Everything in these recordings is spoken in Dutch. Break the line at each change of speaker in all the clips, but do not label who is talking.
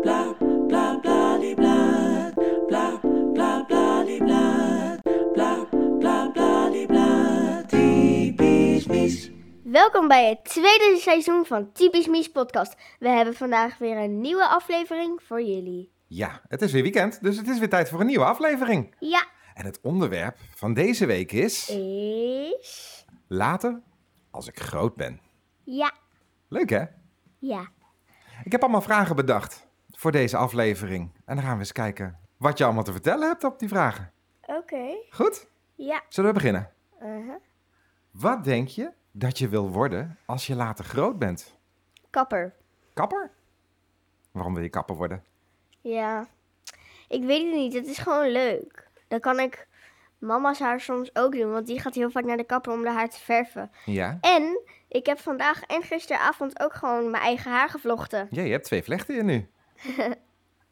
bla bla bla die bla bla bla bla die bla bla bla bla die bla typisch mies.
Welkom bij het tweede seizoen van Typisch Mies podcast. We hebben vandaag weer een nieuwe aflevering voor jullie.
Ja, het is weer weekend, dus het is weer tijd voor een nieuwe aflevering.
Ja,
En het onderwerp van deze week is...
is...
Later, als ik groot ben.
Ja,
Leuk hè?
ja.
Ik heb allemaal vragen bedacht voor deze aflevering. En dan gaan we eens kijken wat je allemaal te vertellen hebt op die vragen.
Oké.
Goed?
Ja.
Zullen we beginnen?
Uh-huh.
Wat denk je dat je wil worden als je later groot bent?
Kapper.
Kapper? Waarom wil je kapper worden?
Ja. Ik weet het niet, het is gewoon leuk. Dan kan ik mama's haar soms ook doen, want die gaat heel vaak naar de kapper om de haar te verven.
Ja.
En ik heb vandaag en gisteravond ook gewoon mijn eigen haar gevlochten.
Ja, je hebt twee vlechten in nu.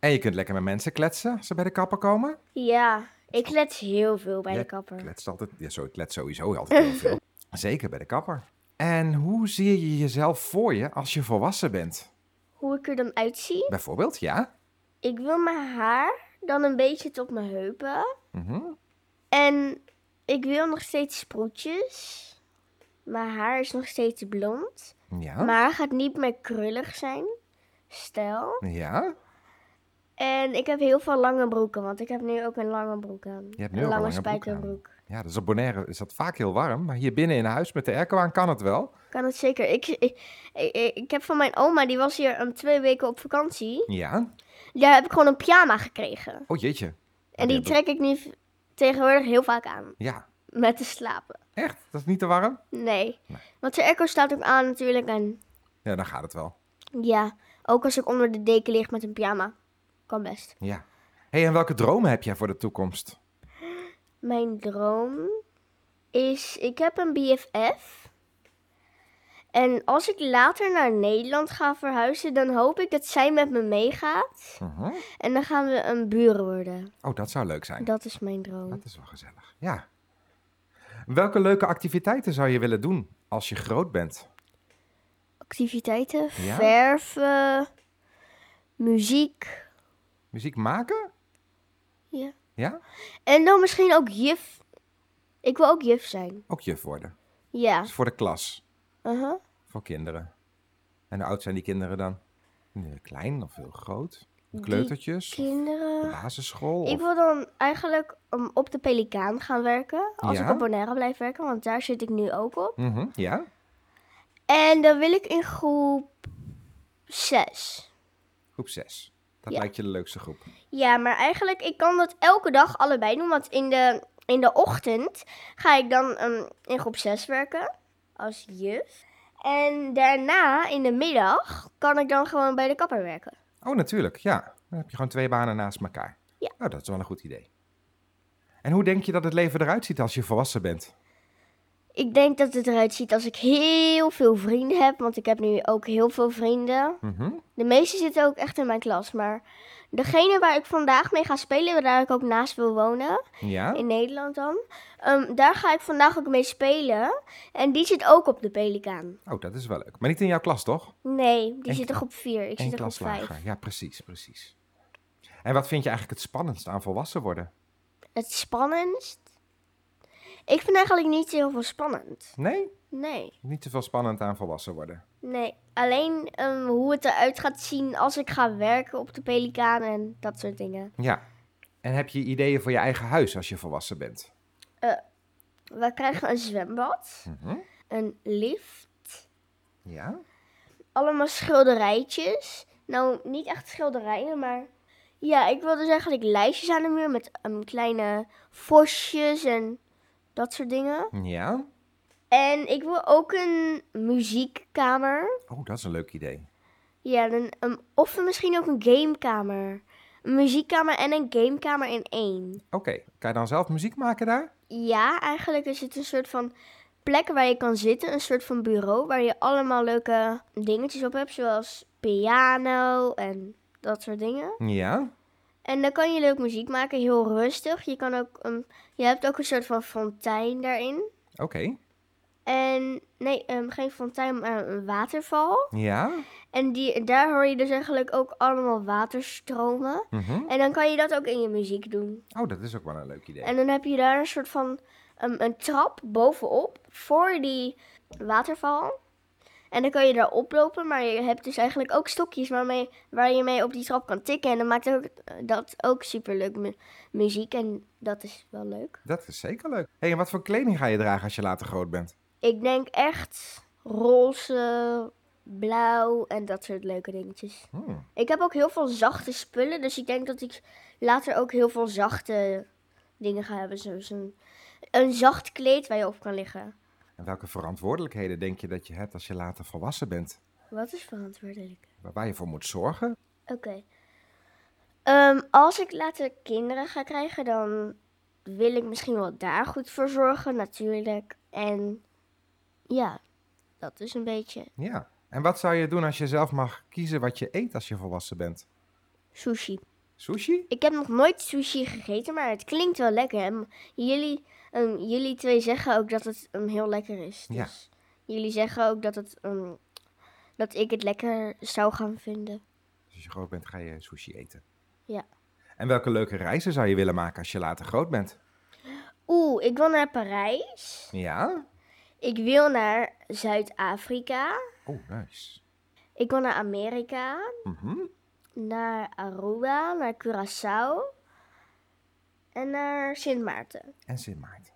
en je kunt lekker met mensen kletsen als ze bij de kapper komen.
Ja, ik let heel veel bij
Ja,
de kapper.
Kletst altijd. Ja, zo, kletst sowieso altijd heel veel. Zeker bij de kapper. En hoe zie je jezelf voor je als je volwassen bent?
Hoe ik er dan uitzie?
Bijvoorbeeld, ja.
Ik wil mijn haar dan een beetje tot mijn heupen.
Mhm.
En ik wil nog steeds sproetjes. Mijn haar is nog steeds blond.
Ja.
Maar het gaat niet meer krullig zijn. Stel.
Ja.
En ik heb heel veel lange broeken, want ik heb nu ook een lange broek aan.
Je hebt nu ook een lange broek aan.
spijkerbroek.
Ja, dus op Bonaire is dat vaak heel warm. Maar hier binnen in huis met de airco aan kan het wel.
Kan het zeker. Ik, ik, ik, ik heb van mijn oma, die was hier een twee weken op vakantie.
Ja.
Daar heb ik gewoon een pyjama gekregen.
Oh jeetje.
En die
Ja, dat-
trek ik nu v- tegenwoordig heel vaak aan.
Ja.
Met te slapen.
Echt? Dat is niet te warm?
Nee. Want zijn airco staat ook aan natuurlijk. En
Ja, dan gaat het wel.
ja, ook als ik onder de deken lig met een pyjama. Kan best.
Ja. hey, en welke dromen heb jij voor de toekomst?
Mijn droom is, ik heb een BFF. En als ik later naar Nederland ga verhuizen, dan hoop ik dat zij met me meegaat.
Mhm.
En dan gaan we een buren worden.
Oh, dat zou leuk zijn.
Dat is mijn droom.
Dat is wel gezellig. Ja. Welke leuke activiteiten zou je willen doen als je groot bent?
Activiteiten,
Ja?
verven, muziek.
Muziek maken?
Ja.
Ja?
En dan misschien ook juf. Ik wil ook juf zijn.
Ook juf worden.
Ja.
Dat is voor de klas.
Uh-huh.
Voor kinderen. En hoe oud zijn die kinderen dan? Nee, Klein of heel groot?
Die
Kleutertjes? Of de
Kinderen.
basisschool?
Ik
Of-
wil dan eigenlijk um, op de Pelikaan gaan werken. Als
Ja?
ik op Bonaire blijf werken, want daar zit ik nu ook op.
Mhm, Ja?
En dan wil ik in groep 6.
Groep 6. Dat
Ja.
lijkt je de leukste groep.
Ja, maar eigenlijk, ik kan dat elke dag allebei doen. Want in de, in de ochtend ga ik dan um, in groep 6 werken. Als juf. En daarna, in de middag, kan ik dan gewoon bij de kapper werken.
Oh, natuurlijk. Ja. Dan heb je gewoon twee banen naast elkaar.
Ja.
Oh, dat is wel een goed idee. En hoe denk je dat het leven eruit ziet als je volwassen bent?
Ik denk dat het eruit ziet als ik heel veel vrienden heb. Want ik heb nu ook heel veel vrienden.
Mhm.
De meeste zitten ook echt in mijn klas. Maar degene waar ik vandaag mee ga spelen, waar ik ook naast wil wonen,
Ja?
in Nederland dan, ehm, daar ga ik vandaag ook mee spelen. En die zit ook op de Pelikaan.
Oh, dat is wel leuk. Maar niet in jouw klas, toch?
Nee, die
Eén
zit
kla-
toch op vier. Ik
Eén
zit er op
klas
vijf.
lager. Ja, precies, precies. En wat vind je eigenlijk het spannendst aan volwassen worden?
Het spannendst? Ik vind eigenlijk niet heel veel spannend.
Nee,
Nee,
niet te veel spannend aan volwassen worden.
nee. Alleen ehm, hoe het eruit gaat zien als ik ga werken op de Pelikaan en dat soort dingen.
Ja. En heb je ideeën voor je eigen huis als je volwassen bent?
We krijgen een zwembad,
Mhm.
een lift,
Ja?
allemaal schilderijtjes. Nou, niet echt schilderijen, maar... Ja, ik wil dus eigenlijk lijstjes aan de muur met ehm, kleine vosjes en dat soort dingen.
Ja?
En ik wil ook een muziekkamer.
Oh, dat is een leuk idee.
Ja, dan, ehm, of misschien ook een gamekamer. Een muziekkamer en een gamekamer in één.
Oké, kan je dan zelf muziek maken daar?
Ja, eigenlijk is het een soort van plek waar je kan zitten. Een soort van bureau waar je allemaal leuke dingetjes op hebt. Zoals piano en dat soort dingen.
Ja?
En dan kan je leuk muziek maken, heel rustig. Je, kan ook, ehm, je hebt ook een soort van fontein daarin.
Oké.
En nee, ehm, geen fontein, maar een waterval.
Ja?
En die, daar hoor je dus eigenlijk ook allemaal waterstromen.
Mhm.
En dan kan je dat ook in je muziek doen.
Oh, dat is ook wel een leuk idee.
En dan heb je daar een soort van ehm, een trap bovenop voor die waterval. En dan kan je daar oplopen, maar je hebt dus eigenlijk ook stokjes waarmee, waar je mee op die trap kan tikken. En dan maakt ook, eh, dat ook super leuk muziek. En dat is wel leuk.
Dat is zeker leuk. Hé, en wat voor kleding ga je dragen als je later groot bent?
Ik denk echt roze, blauw en dat soort leuke dingetjes.
Hmm.
Ik heb ook heel veel zachte spullen, dus ik denk dat ik later ook heel veel zachte dingen ga hebben. Zoals een, een zacht kleed waar je op kan liggen.
En welke verantwoordelijkheden denk je dat je hebt als je later volwassen bent?
Wat is verantwoordelijk?
Waar- Waar je voor moet zorgen?
Oké. Ehm, als ik later kinderen ga krijgen, dan wil ik misschien wel daar goed voor zorgen, natuurlijk. En ja, dat is een beetje
Ja. En wat zou je doen als je zelf mag kiezen wat je eet als je volwassen bent?
sushi.
Sushi?
Ik heb nog nooit sushi gegeten, maar het klinkt wel lekker. En jullie, ehm, jullie twee zeggen ook dat het ehm, heel lekker is.
Ja.
Dus jullie zeggen ook dat, het, ehm, dat ik het lekker zou gaan vinden.
Dus als je groot bent, ga je sushi eten.
Ja.
En welke leuke reizen zou je willen maken als je later groot bent?
Oeh, ik wil naar Parijs.
Ja?
Ik wil naar Zuid-Afrika.
Oh, nice.
Ik wil naar Amerika.
Mhm.
Naar Aruba. Naar Curaçao. En naar Sint Maarten.
En Sint Maarten.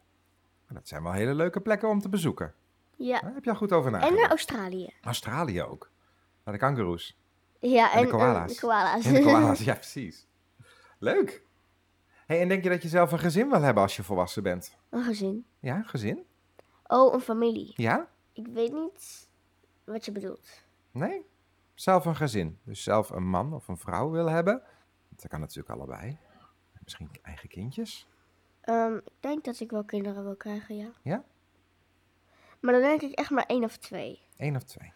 Nou, Dat zijn wel hele leuke plekken om te bezoeken.
Ja.
Daar heb je al goed over
En naar
nagedacht.
Australië.
Australië ook. Naar de kangaroes.
Ja,
En de
en, ehm,
koala's.
de koala's.
En de koala's, ja precies. Leuk. Hey, en denk je dat je zelf een gezin wil hebben als je volwassen bent?
een gezin.
Ja, een gezin?
Oh, een familie.
Ja?
Ik weet niet wat je bedoelt.
Nee? Zelf een gezin. Dus zelf een man of een vrouw wil hebben. Dat kan natuurlijk allebei. Misschien eigen kindjes.
Ehm, ik denk dat ik wel kinderen wil krijgen, ja.
Ja?
Maar dan denk ik echt maar één of twee.
Eén of twee.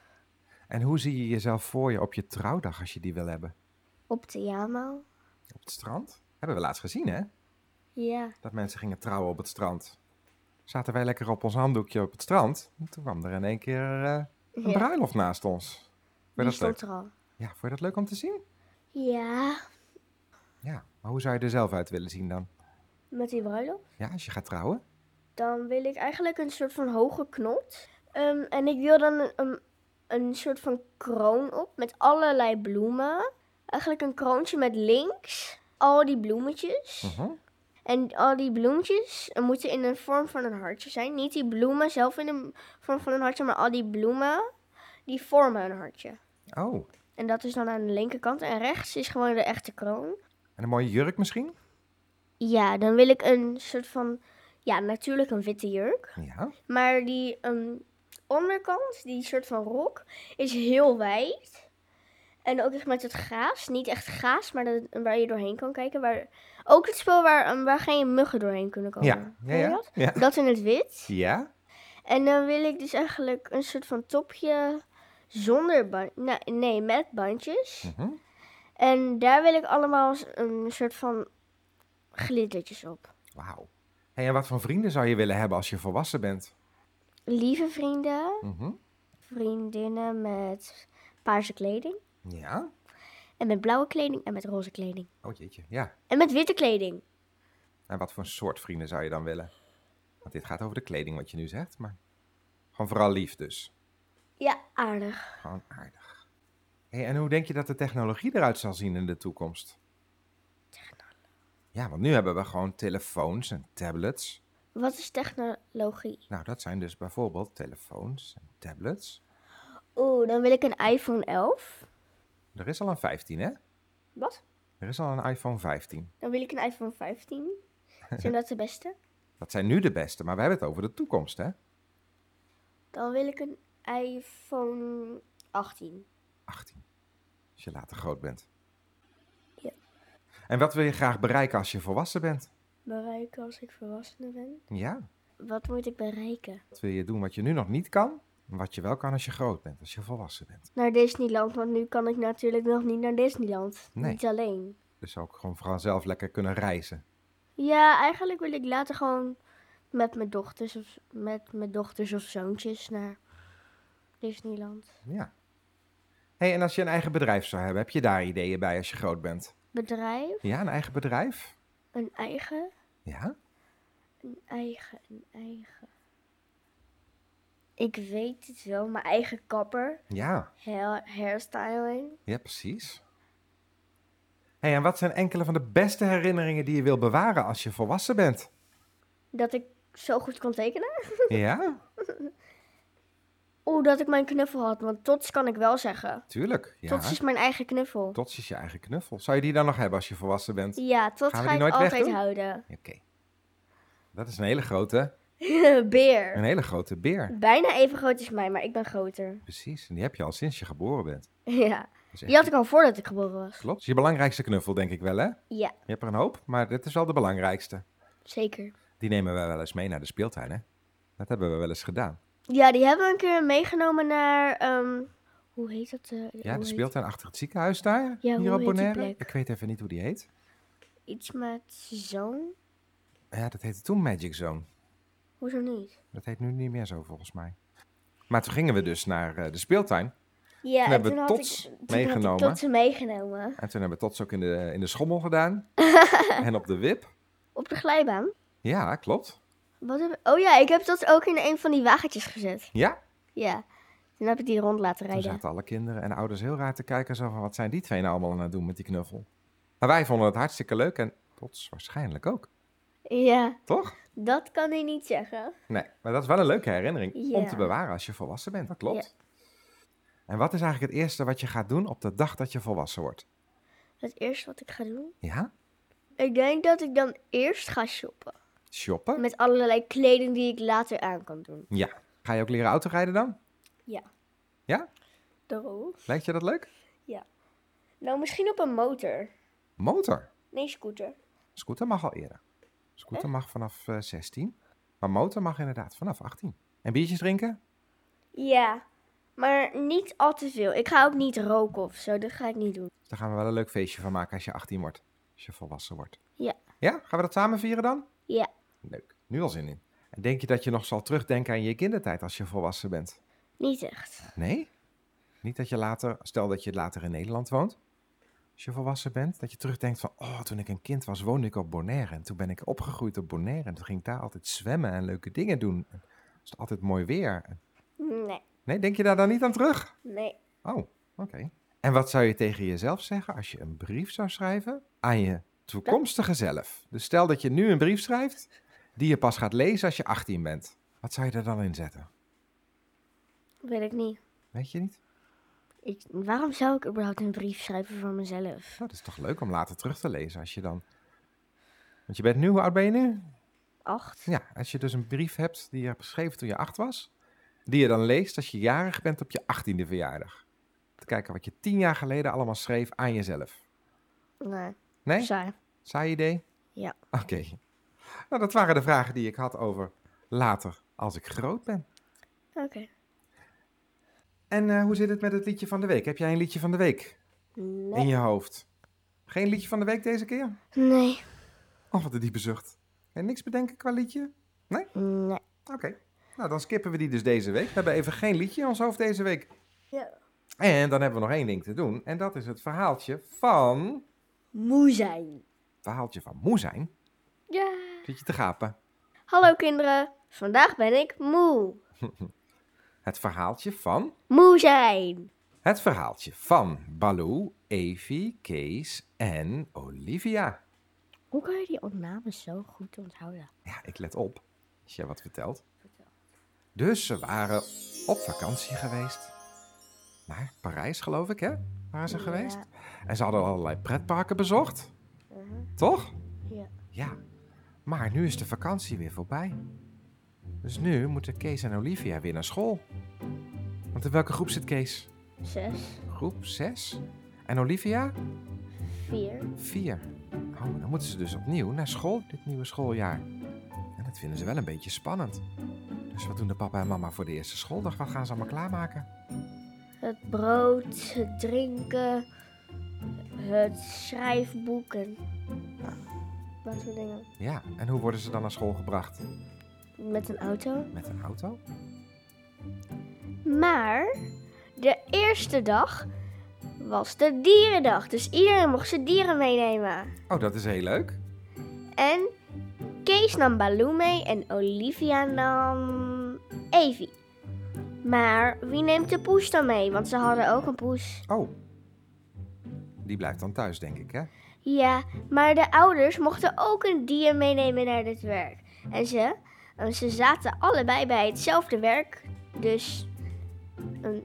En hoe zie je jezelf voor je op je trouwdag als je die wil hebben?
Op de Jamo.
Op het strand? Hebben we laatst gezien, hè?
Ja.
Dat mensen gingen trouwen op het strand. Zaten wij lekker op ons handdoekje op het strand. En toen kwam er in één keer eh, een
ja.
bruiloft naast ons. Vond je
Die
dat leuk?
stond er al.
Ja, vond je dat leuk om te zien?
Ja.
Ja, maar hoe zou je er zelf uit willen zien dan?
Met die bruiloft.
Ja, als je gaat trouwen?
Dan wil ik eigenlijk een soort van hoge knot. Ehm, en ik wil dan een, een, een soort van kroon op met allerlei bloemen. Eigenlijk een kroontje met links. Al die bloemetjes.
Mhm.
En al die bloemetjes eh, moeten in de vorm van een hartje zijn. Niet die bloemen zelf in de vorm van een hartje, maar al die bloemen die vormen een hartje.
Oh,
En dat is dan aan de linkerkant. En rechts is gewoon de echte kroon.
en een mooie jurk misschien?
Ja, dan wil ik een soort van, ja, natuurlijk een witte jurk.
Ja.
Maar die ehm, onderkant, die soort van rok, is heel wijd. En ook echt met het gaas. Niet echt gaas, maar dat, waar je doorheen kan kijken. Waar, ook het spel waar, ehm, waar geen muggen doorheen kunnen komen.
Ja.
Oh, Ken je dat?
Ja.
Dat in het wit.
Ja?
En dan wil ik dus eigenlijk een soort van topje zonder band. Nou, nee, met bandjes.
Mhm.
En daar wil ik allemaal s- een soort van glittertjes op.
Wauw. Hey, en wat voor vrienden zou je willen hebben als je volwassen bent?
Lieve vrienden,
Mhm.
vriendinnen met paarse kleding.
Ja?
En met blauwe kleding en met roze kleding.
Oh jeetje, ja.
En met witte kleding.
En wat voor soort vrienden zou je dan willen? Want dit gaat over de kleding wat je nu zegt, maar... Gewoon vooral lief dus.
Ja, aardig.
Gewoon aardig. Hey, en hoe denk je dat de technologie eruit zal zien in de toekomst? Ja, want nu hebben we gewoon telefoons en tablets.
Wat is technologie?
Nou, dat zijn dus bijvoorbeeld telefoons en tablets.
Oeh, dan wil ik een iPhone 11.
Er is al een 15, hè?
Wat?
Er is al een iPhone 15.
Dan wil ik een iPhone 15. Zijn dat de beste?
Dat zijn nu de beste, maar we hebben het over de toekomst, hè?
Dan wil ik een iPhone 18.
18. Als je later groot bent.
Ja.
En wat wil je graag bereiken als je volwassen bent?
Bereiken als ik volwassene ben.
Ja.
Wat moet ik bereiken?
Wat wil je doen wat je nu nog niet kan? En wat je wel kan als je groot bent, als je volwassen bent.
Naar Disneyland, want nu kan ik natuurlijk nog niet naar Disneyland.
Nee.
Niet alleen.
Dus ook gewoon vanzelf lekker kunnen reizen.
Ja, eigenlijk wil ik later gewoon met mijn dochters of, met mijn dochters of zoontjes naar Disneyland.
Ja. hey, en als je een eigen bedrijf zou hebben, heb je daar ideeën bij als je groot bent?
Bedrijf,
Ja, een eigen bedrijf?
een eigen,
Ja?
een eigen, een eigen. Ik weet het wel, mijn eigen kapper,
Ja,
hair, hairstyling.
ja precies. hey, en wat zijn enkele van de beste herinneringen die je wil bewaren als je volwassen bent?
Dat ik zo goed kon tekenen.
Ja,
Oeh, dat ik mijn knuffel had, want tots kan ik wel zeggen.
tuurlijk. Ja.
Tots is mijn eigen knuffel.
Tots is je eigen knuffel. Zou je die dan nog hebben als je volwassen bent?
Ja, tots
Gaan we die
ga ik
nooit
altijd
wegdoen?
houden.
Oké. Dat is een hele grote, een
Beer.
hele grote beer.
Bijna even groot als mij, maar ik ben groter.
Precies, en die heb je al sinds je geboren bent.
ja.
Dat is echt-
Die had ik al voordat ik geboren was.
Klopt. Dat is je belangrijkste knuffel, denk ik wel, hè?
Ja,
Je hebt er een hoop, maar dit is wel de belangrijkste.
zeker.
Die nemen wij wel eens mee naar de speeltuin, hè? Dat hebben we wel eens gedaan.
Ja, die hebben we een keer meegenomen naar. ehm, hoe heet dat? eh, hoe
Ja, de
heet-
speeltuin achter het ziekenhuis daar,
Ja, hoe
hier op
heet die
Bonaire.
plek?
Ik weet even niet hoe die heet.
Iets met zo'n.
Ja, dat heette toen Magic Zone.
Hoezo niet?
Dat heet nu niet meer zo, volgens mij. Maar toen gingen we dus naar eh, de speeltuin.
Ja,
Toen
en
hebben we
toen had
tots
ik, toen
meegenomen.
Had ik totsen meegenomen.
En toen hebben we tots ook in de, in de schommel gedaan. en op de wip.
Op de glijbaan.
Ja, klopt.
Wat heb, oh ja, ik heb dat ook in een van die wagentjes gezet.
Ja,
Ja. Toen heb ik die rond laten
Toen
rijden.
zaten alle kinderen en ouders heel raar te kijken. Zo van, wat zijn die twee nou allemaal aan het doen met die knuffel? Maar wij vonden het hartstikke leuk en tots waarschijnlijk ook,
Ja,
toch?
dat kan hij niet zeggen.
Nee, maar dat is wel een leuke herinnering om
Ja.
te bewaren als je volwassen bent. Dat klopt. En wat is eigenlijk het eerste wat je gaat doen op de dag dat je volwassen wordt?
Het eerste wat ik ga doen.
Ja?
Ik denk dat ik dan eerst ga shoppen.
Shoppen?
Met allerlei kleding die ik later aan kan doen.
Ja. Ga je ook leren autorijden dan?
Daarom.
Lijkt je dat leuk?
Nou, misschien op een motor.
Motor.
Nee, scooter.
Scooter mag al eerder. Scooter mag vanaf eh, 16. Maar motor mag inderdaad vanaf 18. En biertjes drinken?
Ja, maar niet al te veel. Ik ga ook niet roken of zo. Dat ga ik niet doen.
Dus Daar gaan we wel een leuk feestje van maken als je 18 wordt. Als je volwassen wordt.
Ja.
Ja? Gaan we dat samen vieren dan?
Ja.
Leuk. Nu al zin in. En denk je dat je nog zal terugdenken aan je kindertijd als je volwassen bent?
Niet echt.
Nee? Niet dat je later, stel dat je later in Nederland woont. Als je volwassen bent, dat je terugdenkt van, oh, toen ik een kind was, woonde ik op Bonaire. En toen ben ik opgegroeid op Bonaire. En toen ging ik daar altijd zwemmen en leuke dingen doen. En het was altijd mooi weer. En-
Nee,
Nee, denk je daar dan niet aan terug?
nee.
Oh, oké. En wat zou je tegen jezelf zeggen als je een brief zou schrijven aan je toekomstige zelf? Dus stel dat je nu een brief schrijft die je pas gaat lezen als je 18 bent. Wat zou je er dan in zetten?
Weet ik niet.
Weet je niet?
Ik, waarom zou ik überhaupt een brief schrijven voor mezelf?
Nou, dat is toch leuk om later terug te lezen als je dan... Want je bent nu, hoe oud ben je nu?
Acht?
Ja, als je dus een brief hebt die je hebt geschreven toen je 8 was, die je dan leest als je jarig bent op je 18e verjaardag. Om Te kijken wat je tien jaar geleden allemaal schreef aan jezelf.
Nee.
Nee?
Saai.
Saai idee?
Ja.
Oké. Nou, dat waren de vragen die ik had over later als ik groot ben.
Oké.
En eh, hoe zit het met het liedje van de week? Heb jij een liedje van de week
Nee.
in je hoofd? Geen liedje van de week deze keer?
Nee.
Oh, wat een diepe zucht. En niks bedenken qua liedje?
Nee.
Oké. Nou, dan skippen we die dus deze week. We hebben even geen liedje in ons hoofd deze week.
Ja.
En dan hebben we nog één ding te doen. En dat is het verhaaltje van...
Moe zijn.
Verhaaltje van moe zijn.
Ja.
Zit je te gapen?
Hallo kinderen. Vandaag ben ik moe.
Het verhaaltje van...
Moe zijn.
Het verhaaltje van Baloo, Evie, Kees en Olivia.
Hoe kan je die opnames zo goed onthouden?
Ja, ik let op. Als jij wat vertelt. Dus ze waren op vakantie geweest. Naar Parijs, geloof ik, hè? Waren ze
Ja.
geweest? En ze hadden allerlei pretparken bezocht. Toch?
Ja.
Ja. Maar nu is de vakantie weer voorbij. Dus nu moeten Kees en Olivia weer naar school. Want in welke groep zit Kees?
Zes,
Groep 6? En Olivia?
vier.
Vier. Oh, dan moeten ze dus opnieuw naar school dit nieuwe schooljaar. En dat vinden ze wel een beetje spannend. Dus wat doen de papa en mama voor de eerste schooldag? Wat gaan ze allemaal klaarmaken?
Het brood, het drinken, het schrijfboeken. Wat voor dingen.
Ja, en hoe worden ze dan naar school gebracht?
Met een auto.
Met een auto?
Maar de eerste dag was de dierendag. Dus iedereen mocht zijn dieren meenemen.
Oh, dat is heel leuk.
En Kees nam Baloo mee en Olivia nam Evie. Maar wie neemt de poes dan mee? Want ze hadden ook een poes.
Oh. Die blijft dan thuis, denk ik, hè?
Ja, maar de ouders mochten ook een dier meenemen naar dit werk. En ze, en ze zaten allebei bij hetzelfde werk. Dus ehm,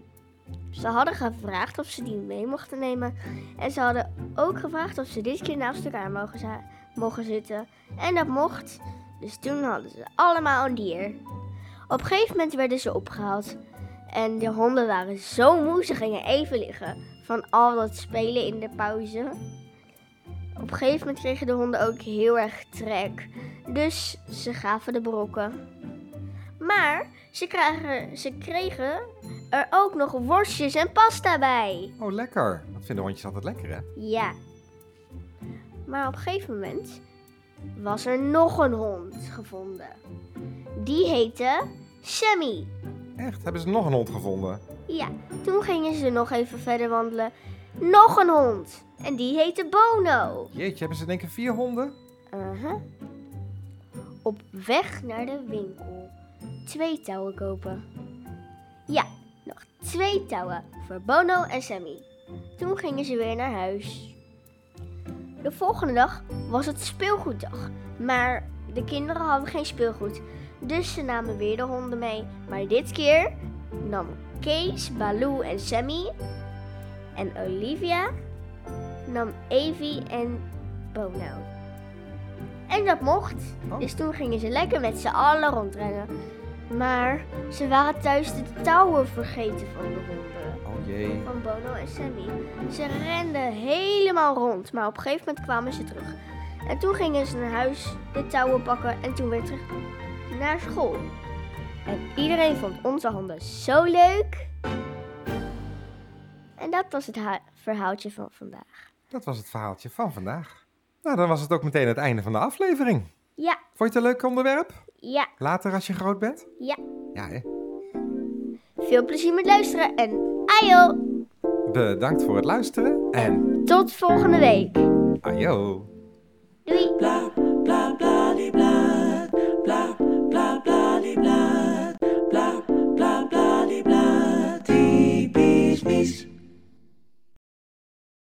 ze hadden gevraagd of ze die mee mochten nemen. En ze hadden ook gevraagd of ze dit keer naast elkaar mogen, za- mogen zitten. En dat mocht. Dus toen hadden ze allemaal een dier. Op een gegeven moment werden ze opgehaald. En de honden waren zo moe, ze gingen even liggen. Van al dat spelen in de pauze. Op een gegeven moment kregen de honden ook heel erg trek. Dus ze gaven de brokken. Maar ze kregen, ze kregen er ook nog worstjes en pasta bij.
Oh, lekker. Dat vinden hondjes altijd lekker, hè?
Ja. Maar op een gegeven moment was er nog een hond gevonden. Die heette Sammy.
Echt? Hebben ze nog een hond gevonden?
Ja, toen gingen ze nog even verder wandelen. Nog een hond. En die heette Bono.
Jeetje, hebben ze denk ik vier honden?
Uh-huh. Op weg naar de winkel. Twee touwen kopen. Ja, nog twee touwen voor Bono en Sammy. Toen gingen ze weer naar huis. De volgende dag was het speelgoeddag. Maar de kinderen hadden geen speelgoed. Dus ze namen weer de honden mee. Maar dit keer nam Kees, Baloo en Sammy. En Olivia nam Evie en Bono. En dat mocht.
Oh.
Dus toen gingen ze lekker met z'n allen rondrennen. Maar ze waren thuis de touwen vergeten van de honden.
Oh jee.
Van Bono en Sammy. Ze renden helemaal rond, maar op een gegeven moment kwamen ze terug. En toen gingen ze naar huis, de touwen pakken en toen weer terug naar school. En iedereen vond onze honden zo leuk. En dat was het ha- verhaaltje van vandaag.
Dat was het verhaaltje van vandaag. Nou, dan was het ook meteen het einde van de aflevering.
Ja,
Vond je het een leuk onderwerp?
ja,
Later als je groot bent?
ja.
Ja, hè?
Veel plezier met luisteren en ajo!
Bedankt voor het luisteren en
Tot volgende week.
ajo.
Doei!
blah